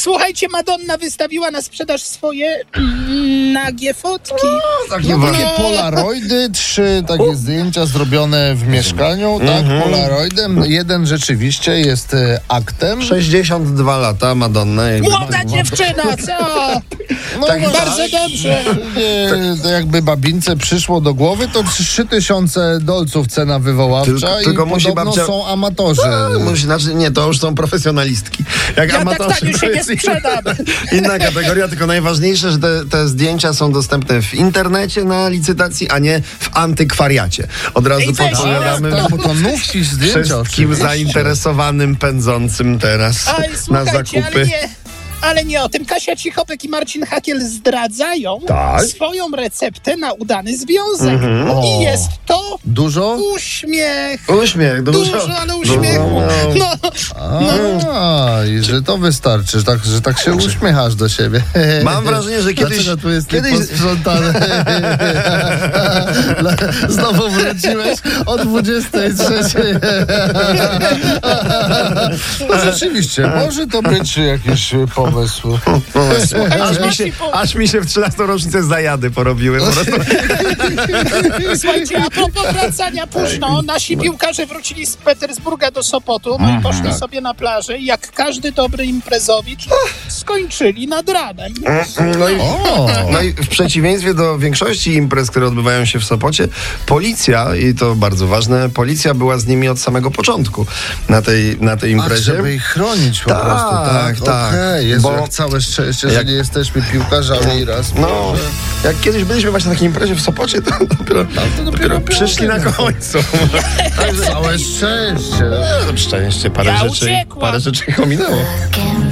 Słuchajcie, Madonna wystawiła na sprzedaż swoje mm, nagie fotki. Takie no. polaroidy, trzy takie zdjęcia zrobione w mieszkaniu, tak, Mhm. polaroidem. Jeden rzeczywiście jest e, no. aktem. 62 lata Madonna. jakby- Młoda dziewczyna, co? No tak, właśnie, Bardzo dobrze. e, to jakby babince przyszło do głowy, to 3000 dolców cena wywoławcza Tylko- i tylko musi podobno babcia- są amatorzy. A, musi- Znaczy, nie, to już są profesjonalistki. Jak Ja tak amatorzy, tanio to się nie jest inna- sprzedam. Inna kategoria, tylko najważniejsze, że te, te zdjęcia są dostępne w internecie na licytacji, a nie w antykwariacie. Od razu Ej, weź, podpowiadamy Tak, bo to nówki zdjęcia wszystkim oczywiście. zainteresowanym pędzącym teraz Oj, na słuchajcie, ale zakupy. nie, ale nie o tym. Kasia Cichopek i Marcin Hakiel zdradzają Tak. Mhm. swoją receptę na udany związek. O. I jest to Dużo? uśmiech. Uśmiech, dużo. Dużo, ale uśmiechu. Dużo. No, No. A, i że to wystarczy, że tak, że tak się uśmiechasz do siebie. Mam wrażenie, że kiedyś- Dlaczego tu jest kiedyś- kiedyś... posprzątane? Znowu wróciłeś o 23. No rzeczywiście, może to być jakiś pomysł. Aż mi, się, aż mi się w 13 rocznicę zajady porobiły. Po prostu. Słuchajcie, a propos wracania późno, no. nasi piłkarze wrócili z Petersburga do Sopotu, Mhm. no i poszli sobie na plażę i jak każdy dobry imprezowicz skończyli nad ranem. No i, O! no i w przeciwieństwie do większości imprez, które odbywają się w Sopocie, policja, i to bardzo ważne, policja była z nimi od samego początku na tej, na tej Ach, imprezie. żeby ich chronić po Tak, prostu, tak? tak. Okej, Jezu, Bo- jak całe szczęście, że Jak- nie jesteśmy piłkarzami raz. No, jak kiedyś byliśmy właśnie na takiej imprezie w Sopocie, to dopiero, dopiero dopiero było, przyszli na tak. końcu. Całe szczęście. Szczęście, parę Ja rzeczy, uciekłam. parę rzeczy ich ominęło. Can't